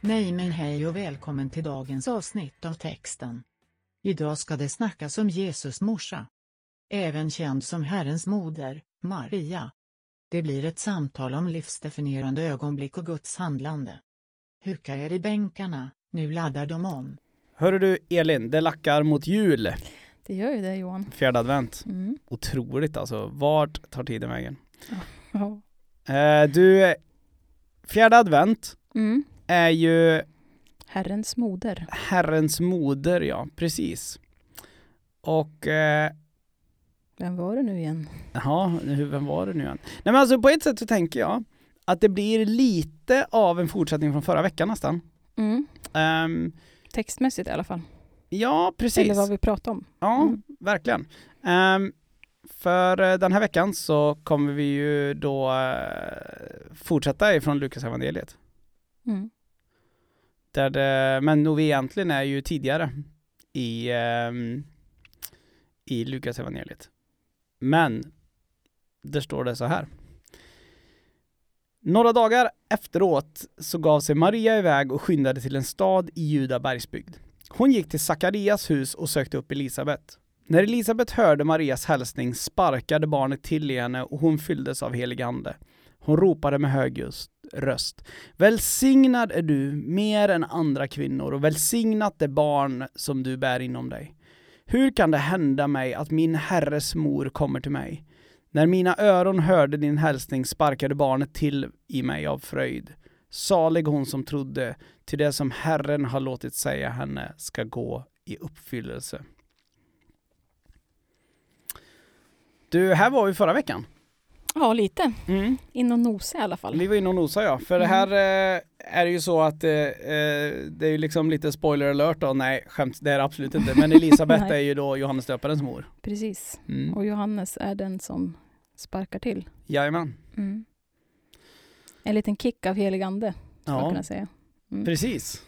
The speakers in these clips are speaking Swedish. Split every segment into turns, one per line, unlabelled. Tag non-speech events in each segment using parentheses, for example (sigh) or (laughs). Nej men hej och välkommen till dagens avsnitt av texten. Idag ska det snackas om Jesus morsa. Även känd som Herrens moder, Maria. Det blir ett samtal om livsdefinierande ögonblick och Guds handlande. Huka er i bänkarna, nu laddar de om.
Hörru du Elin, det lackar mot jul,
Det gör ju det Johan.
fjärde advent.
Mm.
Otroligt alltså, vart tar tiden vägen?
Ja.
Eh, du, fjärde advent
Mm.
är ju
Herrens moder.
Herrens moder, ja, precis. Och, eh,
Vem var det nu igen?
ja, hur- vem var det nu igen? Nej men alltså på ett sätt så tänker jag att det blir lite av en fortsättning från förra veckan nästan.
Mm.
Ehm,
Textmässigt i alla fall.
ja, precis.
Eller vad vi pratar om.
Ja,
Mm.
verkligen. Ehm, för eh, den här veckan så kommer vi ju då eh, fortsätta ifrån Lukas evangeliet.
Mm.
Där det, men nog vi egentligen är ju tidigare i, ehm, i Lukas evangeliet. Men där står det så här. Några dagar efteråt så gav sig Maria iväg och skyndade till en stad i Juda bergsbygd. Hon gick till Sakarias hus och sökte upp Elisabet. När Elisabet hörde Marias hälsning sparkade barnet till i henne och hon fylldes av helig ande. Hon ropade med hög just- röst. Välsignad är du mer än andra kvinnor och välsignat det barn som du bär inom dig. Hur kan det hända mig att min herres mor kommer till mig? När mina öron hörde din hälsning sparkade barnet till i mig av fröjd. Salig hon som trodde, till det som Herren har låtit säga henne ska gå i uppfyllelse. Du, här var vi förra veckan.
Ja, lite. In och nosa i alla fall.
Vi var inne och nosade ja, för det
Mm.
här eh, är det ju så att eh, eh, det är ju liksom lite spoiler alert då, nej skämt, det är det absolut inte, men Elisabeth
(laughs) Nej.
är ju då Johannes döparens mor.
Precis.
Mm.
Och Johannes är den som sparkar till.
Jajamän.
Mm. En liten kick av helig ande, skulle man
Ja,
kunna säga. Mm.
precis.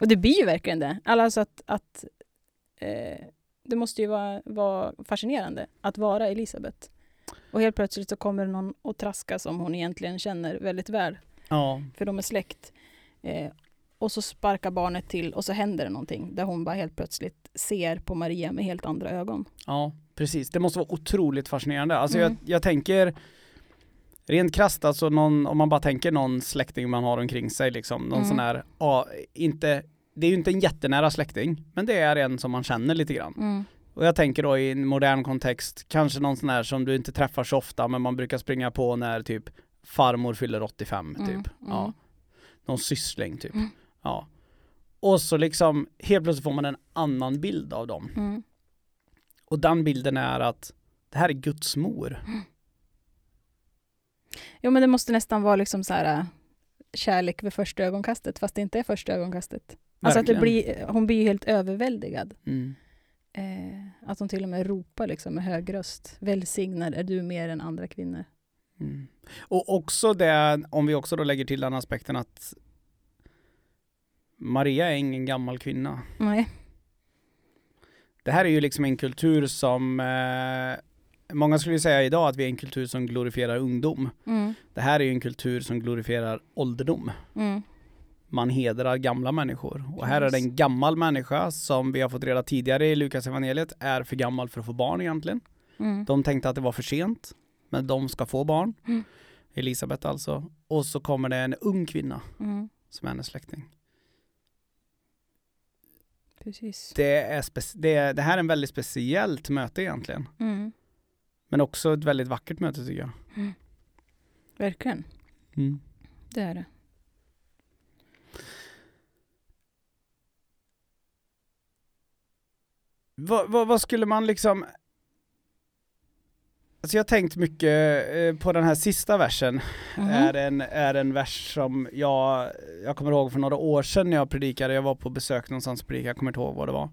Och det blir ju verkligen det. Alltså att, att eh, det måste ju vara, vara fascinerande att vara Elisabet. Och helt plötsligt så kommer någon och traska som hon egentligen känner väldigt väl,
Ja,
för de är släkt. Eh, och så sparkar barnet till och så händer det någonting där hon bara helt plötsligt ser på Maria med helt andra ögon.
ja, precis. Det måste vara otroligt fascinerande. Alltså
Mm.
jag, jag tänker rent krasst, alltså någon, om man bara tänker någon släkting man har omkring sig liksom, någon
Mm.
sån här, ja, inte, det är ju inte en jättenära släkting, men det är en som man känner lite grann. Och jag tänker då i en modern kontext, kanske någon sån här som du inte träffar så ofta, men man brukar springa på när typ farmor fyller 85 typ.
Mm,
Ja.
mm.
Någon syssling typ.
Mm.
Ja. Och så liksom, helt plötsligt får man en annan bild av dem.
Mm.
Och den bilden är att det här är Guds mor.
Jo men det måste nästan vara liksom så här eh, kärlek vid första ögonkastet fast det inte är första ögonkastet. Alltså att det
Verkligen.
blir, hon blir ju helt överväldigad.
Mm.
Eh, att de till och med ropar liksom med hög röst. Välsignad är du mer än andra kvinnor.
Mm. Och också det, om vi också då lägger till den aspekten att Maria är ingen gammal kvinna.
Nej.
Det här är ju liksom en kultur som eh, Många skulle ju säga idag att vi är en kultur som glorifierar ungdom.
Mm.
Det här är ju en kultur som glorifierar ålderdom.
Mm.
Man hedrar gamla människor. Och här är det
Precis.
en gammal människa som vi har fått reda tidigare i Lukas evangeliet är för gammal för att få barn egentligen.
Mm.
De tänkte att det var för sent, men de ska få barn.
Mm.
Elisabet alltså. Och så kommer det en ung kvinna
Mm.
som är hennes släkting.
Precis.
Det, är spec- det, är- det här är en väldigt speciellt möte egentligen.
Mm.
Men också ett väldigt vackert möte tycker jag.
Verkligen, Mm. det är det.
Vad, vad, vad skulle man liksom... Alltså jag har tänkt mycket eh, på den här sista versen,
Mhm.
är, en, är en vers som jag, jag kommer ihåg för några år sedan när jag predikade, jag var på besök någonstans och predikade, jag kommer inte ihåg vad det var.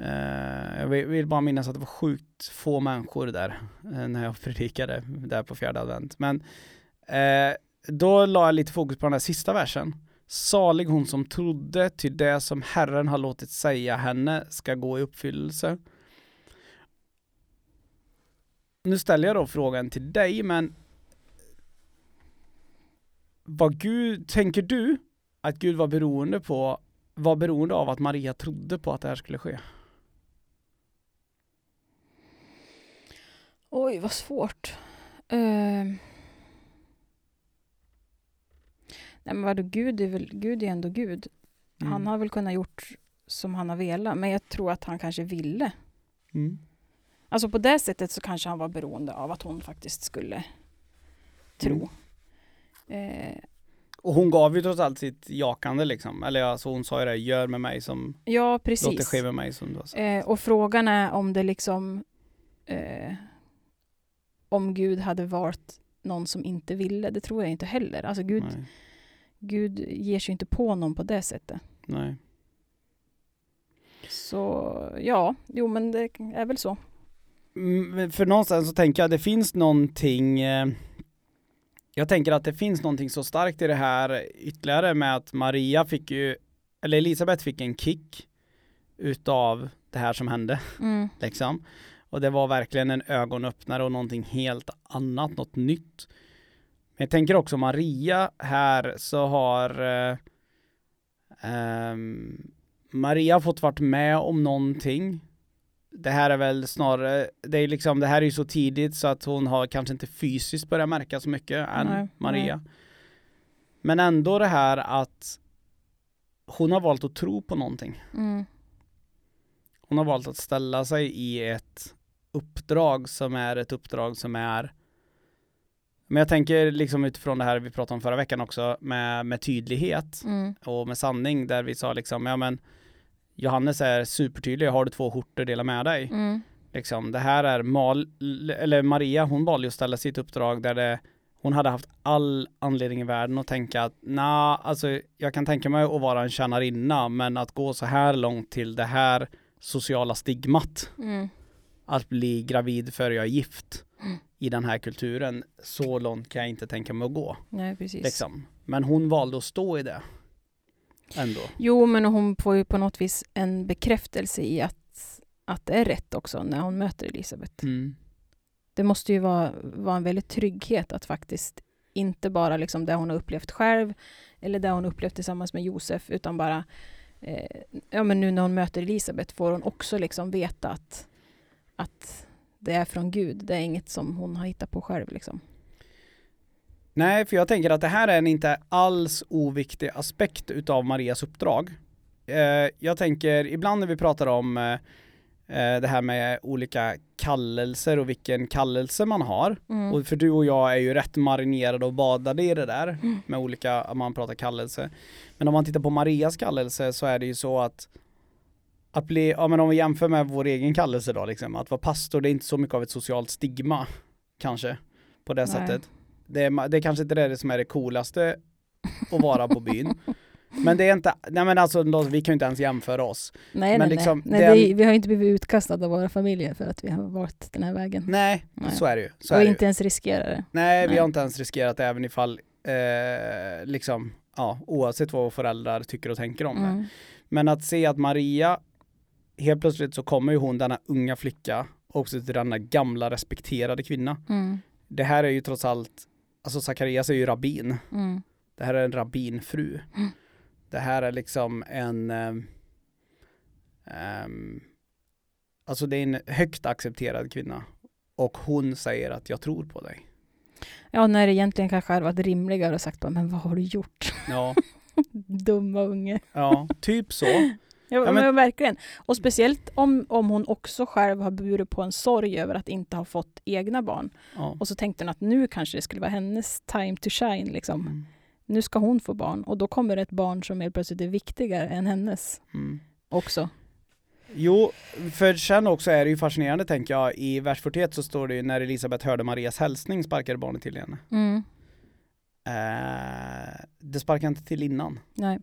Eh, jag vill, vill bara minnas att det var sjukt få människor där eh, när jag (laughs) predikade där på fjärde advent. Men eh, då la jag lite fokus på den här sista versen. Salig hon som trodde, till det som Herren har låtit säga henne ska gå i uppfyllelse. Nu ställer jag då frågan till dig, men vad Gud, tänker du att Gud var beroende på, var beroende av att Maria trodde på att det här skulle ske?
Oj, vad svårt. Ehm. Nej, men vadå, Gud är väl, Gud är ändå Gud.
Mm.
Han har väl kunnat gjort som han har velat, men jag tror att han kanske ville.
Mm.
Alltså på det sättet så kanske han var beroende av att hon faktiskt skulle tro.
Mm.
Eh,
Och hon gav ju trots allt sitt jakande liksom. Eller alltså hon sa ju det, gör med mig som,
ja,
låt det
precis.
ske med mig som du har sagt.
Eh, och frågan är om det liksom... Eh, om Gud hade varit någon som inte ville, det tror jag inte heller. Alltså Gud,
Nej.
Gud ger sig inte på någon på det sättet.
Nej.
Så ja, jo men det är väl så.
Mm, men för någonstans så tänker jag det finns någonting eh, Jag tänker att det finns någonting så starkt i det här ytterligare med att Maria fick ju Eller Elisabeth fick en kick Utav det här som hände
Mm,
liksom Och det var verkligen en ögonöppnare och någonting helt annat, något nytt Men jag tänker också Maria här så har eh, ehm, Maria fått varit med om någonting det här är väl snarare, det är liksom, det här är ju så tidigt så att hon har kanske inte fysiskt börjat märka så mycket än
Nej,
Maria. Men ändå det här att hon har valt att tro på någonting.
mm,
Hon har valt att ställa sig i ett uppdrag som är ett uppdrag som är men jag tänker liksom utifrån det här vi pratade om förra veckan också med, med tydlighet
mm,
och med sanning där vi sa liksom, ja men Johannes är supertydlig, har du två skjortor, dela med dig.
mm,
Liksom, det här är Mal, eller Maria, hon valde ju att ställa sitt uppdrag där det, hon hade haft all anledning i världen att tänka att nah, alltså jag kan tänka mig att vara en tjänarinna, men att gå så här långt till det här sociala stigmat,
mm,
att bli gravid före jag är gift
Mm.
i den här kulturen, så långt kan jag inte tänka mig att gå.
nej precis.
Liksom. Men hon valde att stå i det. Ändå.
Jo men hon får ju på något vis en bekräftelse i att, att det är rätt också när hon möter Elisabeth.
Mm.
Det måste ju vara, vara en väldigt trygghet att faktiskt inte bara liksom det hon har upplevt själv eller det hon upplevt tillsammans med Josef utan bara eh, ja men nu när hon möter Elisabet får hon också liksom veta att, att det är från Gud. Det är inget som hon har hittat på själv liksom.
Nej, för jag tänker att det här är en inte alls oviktig aspekt utav Marias uppdrag. Eh, jag tänker ibland när vi pratar om eh, eh, det här med olika kallelser och vilken kallelse man har.
Mm.
Och för du och jag är ju rätt marinerade och badade i det där
Mm.
med olika, om man pratar kallelse. Men om man tittar på Marias kallelse så är det ju så att att bli, ja men om vi jämför med vår egen kallelse då liksom, att vara pastor det är inte så mycket av ett socialt stigma kanske på det
Nej.
sättet. Det är, ma- det är kanske inte det som är det coolaste att vara på byn. Men det är inte, nej men alltså då, vi kan ju inte ens jämföra oss.
nej,
men
nej,
liksom,
nej. nej
den-
det är, vi har inte blivit utkastade av våra familjer för att vi har valt den här vägen.
Nej,
Nej.
så är det ju. Så
Och
är det ju.
inte ens riskerar det.
Nej, vi
Nej.
har inte ens riskerat det även ifall, eh, liksom, ja, oavsett vad våra föräldrar tycker och tänker om det.
Mm.
Men att se att Maria, helt plötsligt så kommer ju hon, denna unga flicka, också till denna gamla respekterade kvinna.
Mm.
Det här är ju trots allt, alltså Zacharias är ju rabbin.
Mm.
Det här är en rabbinfru.
Mm.
Det här är liksom en... ehm, ehm, alltså det är en högt accepterad kvinna. Och hon säger att jag tror på dig.
Ja, när det egentligen kanske hade varit rimligare och sagt bara, men vad har du gjort?
Ja,
Dumma unge.
(laughs) ja typ så.
Ja,
Ja,
men,
men-
verkligen. Och speciellt om, om hon också själv har burit på en sorg över att inte ha fått egna barn.
Ja.
Och så tänkte hon att nu kanske det skulle vara hennes time to shine. Liksom.
Mm.
Nu ska hon få barn och då kommer ett barn som helt plötsligt är viktigare än hennes
Mm.
också.
Jo, för sen också är det ju fascinerande tänker jag. I vers 41 så står det ju när Elisabet hörde Marias hälsning sparkade barnet till henne.
Mm.
Eh, det sparkade inte till innan.
Nej.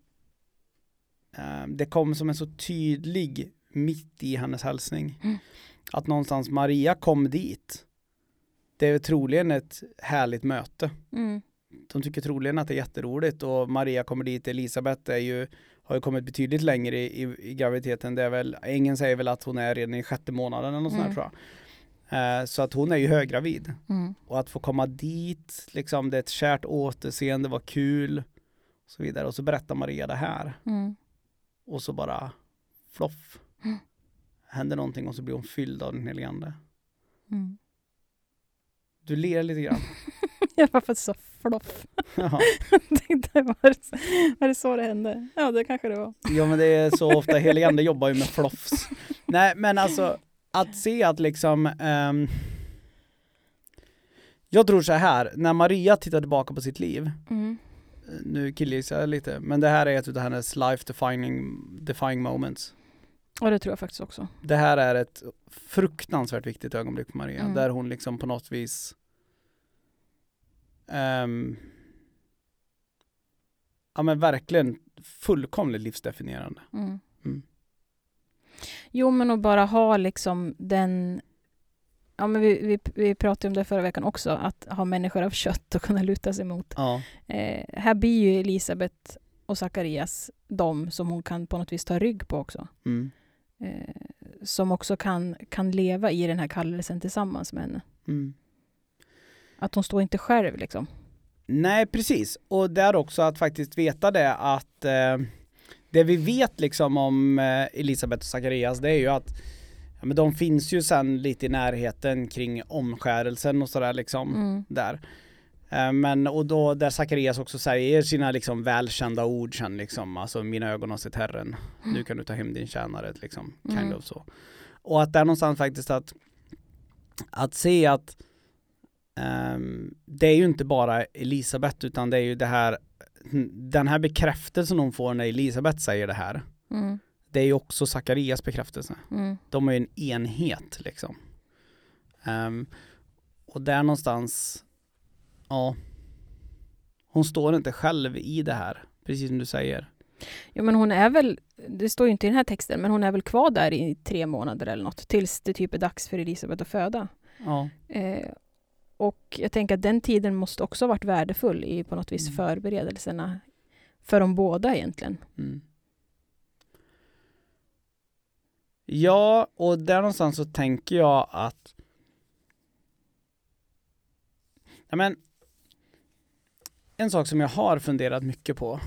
Eh, det kom som en så tydlig mitt i hennes hälsning.
Mm.
Att någonstans Maria kom dit. Det är troligen ett härligt möte.
Mm.
De tycker troligen att det är jätteroligt och Maria kommer dit, Elisabeth är ju, har ju kommit betydligt längre i, i, i graviditeten. Det är väl, ingen säger väl att hon är redan i sjätte månaden eller något sånt här
Mm.
tror jag. Eh, Så att hon är ju höggravid.
Mm.
Och att få komma dit, liksom det är ett kärt återseende, var kul. Och så vidare. Och så berättar Maria det här.
Mm.
Och så bara floff.
Mm.
Händer någonting och så blir hon fylld av den helige ande.
Mm.
Du ler lite grann.
(laughs)
(laughs)
Jag var faktiskt så floff. (laughs)
ja.
Tänkte, var, det, så- var det så det hände? Ja, det kanske det var.
ja men det är så ofta, helig ande jobbar ju med floffs. Nej men alltså att se att liksom ehm, Jag tror så här, när Maria tittar tillbaka på sitt liv eh,
Mm.
nu killgissar jag lite, men det här är ett av hennes life defining, defying moments.
Och det tror jag faktiskt också.
Det här är ett fruktansvärt viktigt ögonblick för Maria,
Mm.
där hon liksom på något vis ehm, ja men verkligen fullkomligt livsdefinierande.
Mm.
Mm.
Jo, men att bara ha liksom den... Ja, men vi, vi, vi pratade om det förra veckan också, att ha människor av kött och kunna luta sig mot.
Ja,
Eh, här blir ju Elisabet och Sakarias de som hon kan på något vis ta rygg på också.
mm,
Eh, som också kan, kan leva i den här kallelsen tillsammans med henne.
mm.
Att hon står inte själv liksom.
Nej, precis. Och där också att faktiskt veta det att eh, det vi vet liksom om eh, Elisabeth och Zacharias det är ju att ja, men de finns ju sen lite i närheten kring omskärelsen och sådär liksom
Mm.
där. Eh, men och då där Zacharias också säger sina liksom välkända ord sen liksom, alltså mina ögon har sett Herren, nu kan du ta hem din tjänare liksom, kind
Mm.
of så. Och att där någonstans faktiskt att att se att Ehm, det är ju inte bara Elisabeth utan det är ju det här den här bekräftelsen hon får när Elisabeth säger det här
Mm.
det är ju också Sakarias bekräftelse.
Mm.
De är ju en enhet liksom. Ehm, och där någonstans ja hon står inte själv i det här precis som du säger.
Jo, men hon är väl, det står ju inte i den här texten, men hon är väl kvar där i tre månader eller något, tills det typ är dags för Elisabet att föda.
Ja,
Eh, och jag tänker att den tiden måste också ha varit värdefull i på något vis
Mm.
förberedelserna för de båda egentligen.
mm. Ja, och där någonstans så tänker jag att Ja, men, en sak som jag har funderat mycket på.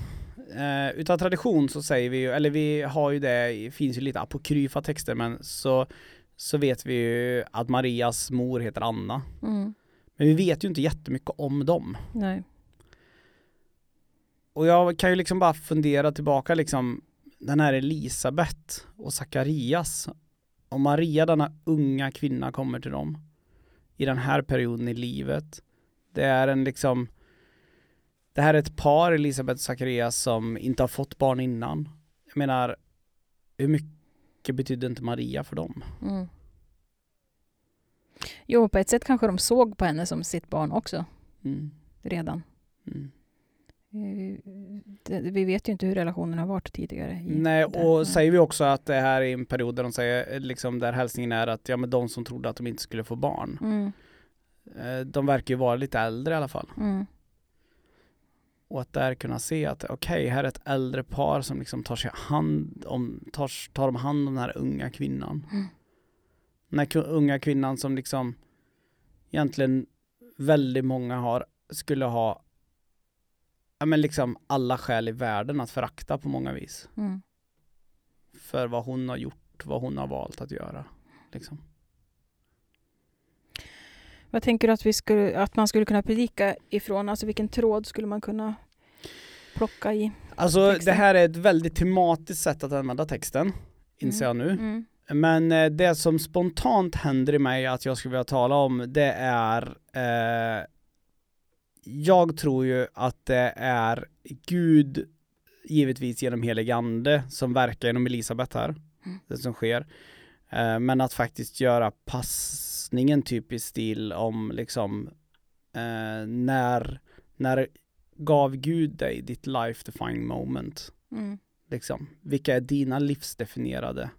Eh, utav tradition så säger vi ju, eller vi har ju det, i- finns ju lite apokryfa texter men så, så vet vi ju att Marias mor heter Anna.
Mm.
Men vi vet ju inte jättemycket om dem.
Nej.
Och jag kan ju liksom bara fundera tillbaka liksom den här Elisabet och Sakarias och Maria, denna unga kvinna, kommer till dem i den här perioden i livet. Det är en liksom det här är ett par, Elisabet och Sakarias, som inte har fått barn innan. Jag menar, hur mycket betydde inte Maria för dem?
Mm. Jo, på ett sätt kanske de såg på henne som sitt barn också
Mm.
redan.
Mm.
Eh, det- Vi vet ju inte hur relationen har varit tidigare. i-
Nej,
där.
och säger vi också att det här är en period där de säger, eh, liksom där hälsningen är att ja men de som trodde att de inte skulle få barn,
Mm,
Eh, De verkar ju vara lite äldre i alla fall.
mm,
Och att där kunna se att okej, här är ett äldre par som liksom tar, sig hand om, tar, tar om hand om den här unga kvinnan.
Mm.
Den här ku- unga kvinnan som liksom egentligen väldigt många har, skulle ha ja, men liksom alla skäl i världen att förakta på många vis.
mm.
För vad hon har gjort, vad hon har valt att göra. Liksom.
Vad tänker du att, vi skulle, att man skulle kunna predika ifrån? Alltså vilken tråd skulle man kunna plocka i?
Alltså
Texten.
det här är ett väldigt tematiskt sätt att använda texten, inser jag nu.
Mm,
Men eh, det som spontant händer i mig att jag skulle vilja tala om det är eh, Jag tror ju att det är Gud givetvis genom helig ande som verkar genom Elisabet här,
Mm.
det som sker. Eh, men att faktiskt göra passningen typ i stil om liksom eh, när, när gav Gud dig ditt life defining moment?
mm,
liksom, vilka är dina livsdefinierade,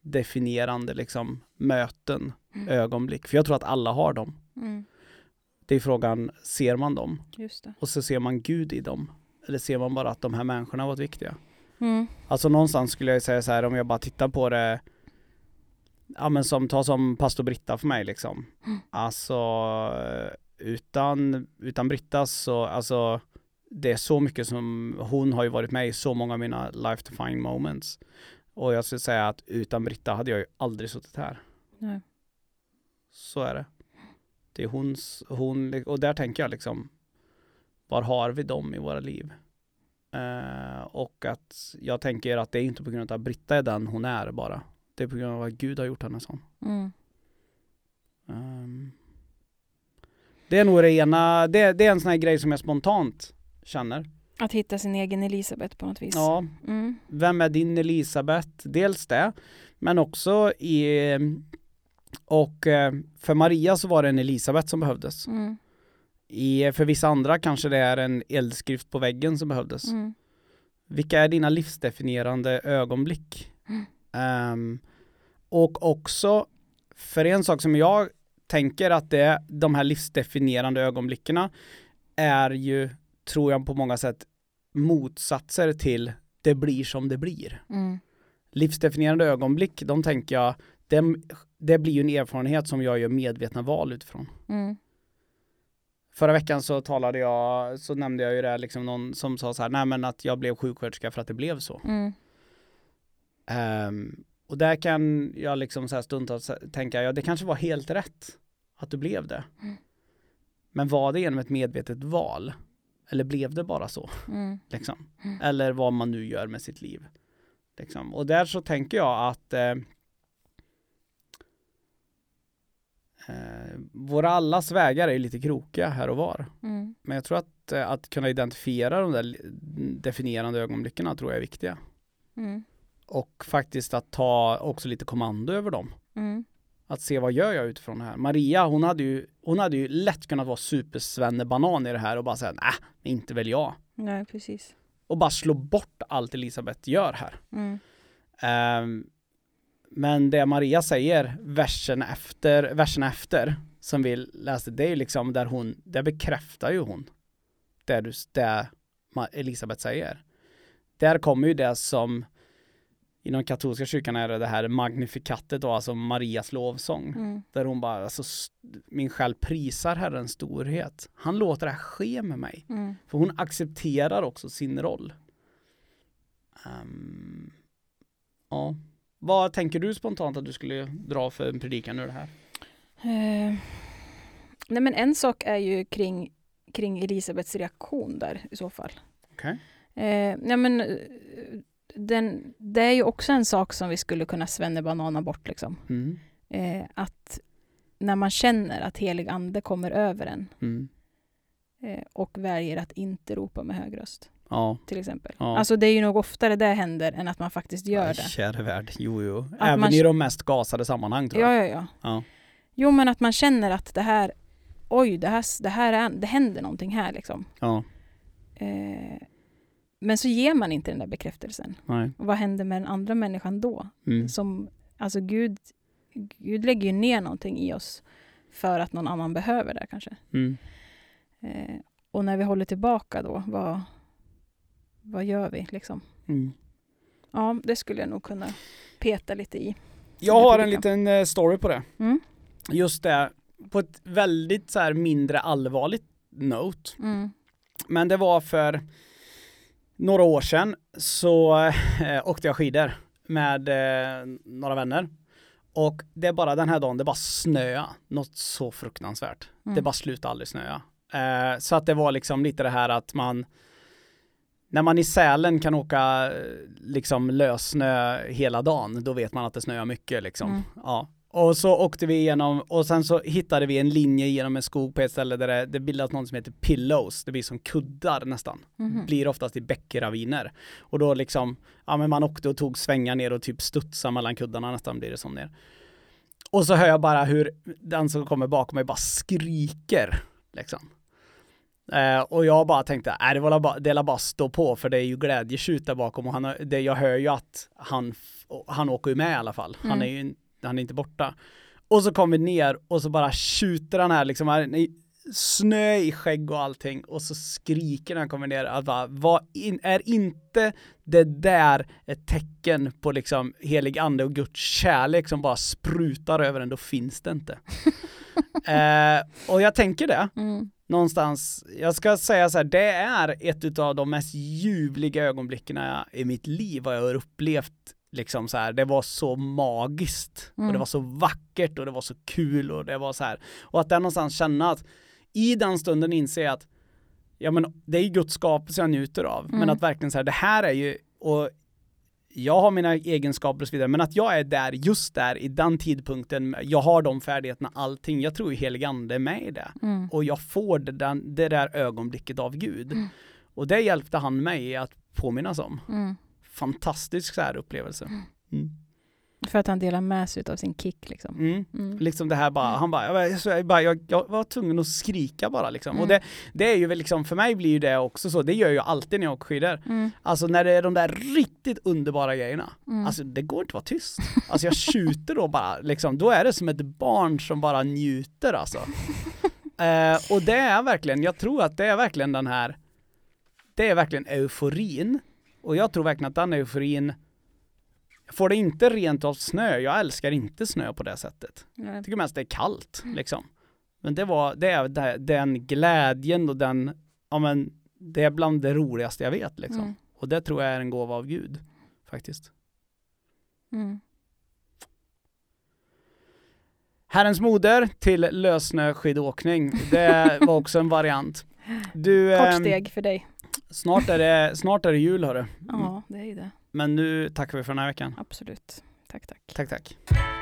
definierande liksom, möten,
Mm.
ögonblick? För jag tror att alla har dem.
mm.
Det är frågan, ser man dem?
Just det.
Och så ser man Gud i dem? Eller ser man bara att de här människorna har varit viktiga?
Mm,
Alltså någonstans skulle jag säga så här, om jag bara tittar på det ja men som, ta som pastor Britta för mig liksom. Alltså, utan, utan Britta så, alltså, det är så mycket som, hon har ju varit med i så många av mina life to find moments. Och jag skulle säga att utan Britta hade jag ju aldrig suttit här.
Nej.
Så är det. Det är hon, hon och där tänker jag liksom, var har vi dem i våra liv? Eh, och att jag tänker att det är inte på grund av att Britta är den hon är bara. Det är på grund av att Gud har gjort henne sån.
Mm.
Ehm. det är nog det ena, det, det är en sån här grej som jag spontant känner.
Att hitta sin egen Elisabeth på något vis.
Ja,
Mm.
vem är din Elisabeth? Dels det, men också i, och eh, för Maria så var det en Elisabeth som behövdes.
Mm.
I, för vissa andra kanske det är en eldskrift på väggen som behövdes.
Mm.
Vilka är dina livsdefinierande ögonblick? Ehm, och också, för en sak som jag tänker att det är de här livsdefinierande ögonblicken är ju, tror jag på många sätt, motsatser till det blir som det blir.
Mm.
Livsdefinierande ögonblick, de tänker jag, dem- det blir ju en erfarenhet som jag gör medvetna val utifrån.
Mm.
Förra veckan så talade jag, så nämnde jag ju det här, liksom någon som sa så här, nej men att jag blev sjuksköterska för att det blev så.
Mm.
Ehm, och där kan jag liksom så här stundtals tänka, ja det kanske var helt rätt att du blev det.
Mm.
Men var det genom ett medvetet val? Eller blev det bara så? (laughs)
Mm.
Liksom?
Mm.
Eller vad man nu gör med sitt liv. Liksom. Och där så tänker jag att eh, eh, våra allas vägar är lite krokiga här och var.
Mm.
Men jag tror att, eh, att kunna identifiera de där li- definierande ögonblicken tror jag är viktiga
Mm.
och faktiskt att ta också lite kommando över dem.
Mm.
Att se vad gör jag utifrån det här. Maria, hon hade ju, hon hade ju lätt kunnat vara supersvennebanan i det här och bara säga nej, inte väl jag.
Nej, precis.
Och bara slå bort allt Elisabeth gör här.
Mm.
Ehm, men det Maria säger, versen efter, versen efter, som vi läste, det är ju liksom där hon, där bekräftar ju hon det, du, det Ma- Elisabet säger. Där kommer ju det som inom katolska kyrkan är det det här magnifikatet då, alltså Marias lovsång.
Mm.
Där hon bara, alltså s- min själ prisar Herrens storhet. Han låter det här ske med mig.
Mm.
För hon accepterar också sin roll. Ehm, ja. Vad tänker du spontant att du skulle dra för en predikan ur det här?
Eh, nej men en sak är ju kring, kring Elisabeths reaktion där i så fall.
Okej.
Eh, nej men, eh, den, det är ju också en sak som vi skulle kunna svennebanana bort. Liksom.
Mm.
Eh, att när man känner att helig ande kommer över en
Mm.
eh, och väljer att inte ropa med hög röst,
Ja.
till exempel.
Ja.
Alltså det är ju nog oftare det händer än att man faktiskt gör
Aj,
det.
Käre värld. Jo, jo.
Att
Även
man-
i de mest gasade sammanhang tror jag.
Ja, ja, ja.
Ja.
Jo, men att man känner att det här, oj, det här, det här är, det händer någonting här liksom.
Ja.
Eh, men så ger man inte den där bekräftelsen.
Nej.
Och vad händer med den andra människan då?
Mm.
Som, alltså Gud, Gud lägger ju ner någonting i oss för att någon annan behöver det kanske.
Mm.
Eh, och när vi håller tillbaka då, vad, vad gör vi liksom?
Mm.
Ja, det skulle jag nog kunna peta lite i.
Jag har en liten eh, story på det.
Mm.
Just det, på ett väldigt så här mindre allvarligt note.
Mm,
Men det var för några år sedan så eh, åkte jag skidor med eh, några vänner. Och det är bara den här dagen, det bara snöa något så fruktansvärt.
mm,
Det bara slutade aldrig snöa. Eh, så att det var liksom lite det här att man när man i Sälen kan åka eh, liksom lössnö hela dagen, då vet man att det snöar mycket liksom.
Mm.
Ja. Och så åkte vi igenom, och sen så hittade vi en linje genom en skog på ett ställe där det, det bildas något som heter pillows, det blir som kuddar nästan.
mhm,
Blir oftast i bäckraviner. Och då liksom, ja men man åkte och tog svängar ner och typ studsade mellan kuddarna nästan blir det som ner. Och så hör jag bara hur den som kommer bakom mig bara skriker. Liksom. Eh, och jag bara tänkte, äh, det var bara, det är bara stå på för det är ju glädjetjut där bakom och han, har- det, jag hör ju att han, f- och han åker ju med i alla fall. Han
Mm.
är ju in- han är inte borta. Och så kom vi ner och så bara tjuter han här liksom, han är snö i skägg och allting och så skriker när han kommer ner att bara, vad in, är inte det där ett tecken på liksom helig ande och Guds kärlek som bara sprutar över en, då finns det inte. eh, och jag tänker det,
Mm.
någonstans, jag ska säga så här, det är ett av de mest ljuvliga ögonblicken i mitt liv, vad jag har upplevt. Liksom så här, det var så magiskt och det
Mm.
var så vackert och det var så kul och det var så här. Och att där någonstans känna att i den stunden inse jag att ja men det är ju Guds skapelse jag njuter av. Men
Mm.
att verkligen så här, det här är ju, och jag har mina egenskaper och så vidare, men att jag är där, just där, i den tidpunkten, jag har de färdigheterna, allting. Jag tror ju helig ande är med i det
Mm.
och jag får det där, det där ögonblicket av Gud.
Mm.
Och det hjälpte han mig att påminnas om.
Mm.
Fantastisk så här upplevelse. Mm.
För att han delar med sig av sin kick liksom.
Mm.
Mm.
Liksom det här bara, han bara, jag, var- jag, jag, bara, jag, jag var tvungen att skrika bara liksom.
Mm.
Och det, det är ju väl liksom, för mig blir ju det också så, det gör jag ju alltid när jag åker skidor.
Mm.
Alltså när det är de där riktigt underbara grejerna.
Mm.
Alltså det går inte att vara tyst. Alltså jag tjuter då bara, liksom, då är det som ett barn som bara njuter
(laughs)
alltså. Eh, och det är verkligen, jag tror att det är verkligen den här, det är verkligen euforin. Och jag tror verkligen att den euforin, jag får det inte rent av snö, jag älskar inte snö på det sättet.
Ja.
Jag tycker mest det är kallt
Mm.
liksom. Men det var, det är det- den glädjen och den, ja men det är bland det roligaste jag vet liksom.
Mm.
Och det tror jag är en gåva av Gud faktiskt.
Mm.
Herrens moder till lössnöskidåkning. Det var också en variant. Du,
Kort
ehm,
steg för dig.
snart, är det, snart är det jul hörru.
Ja, det är ju det.
Men nu tackar vi för den här veckan.
Absolut. Tack, tack.
Tack, tack.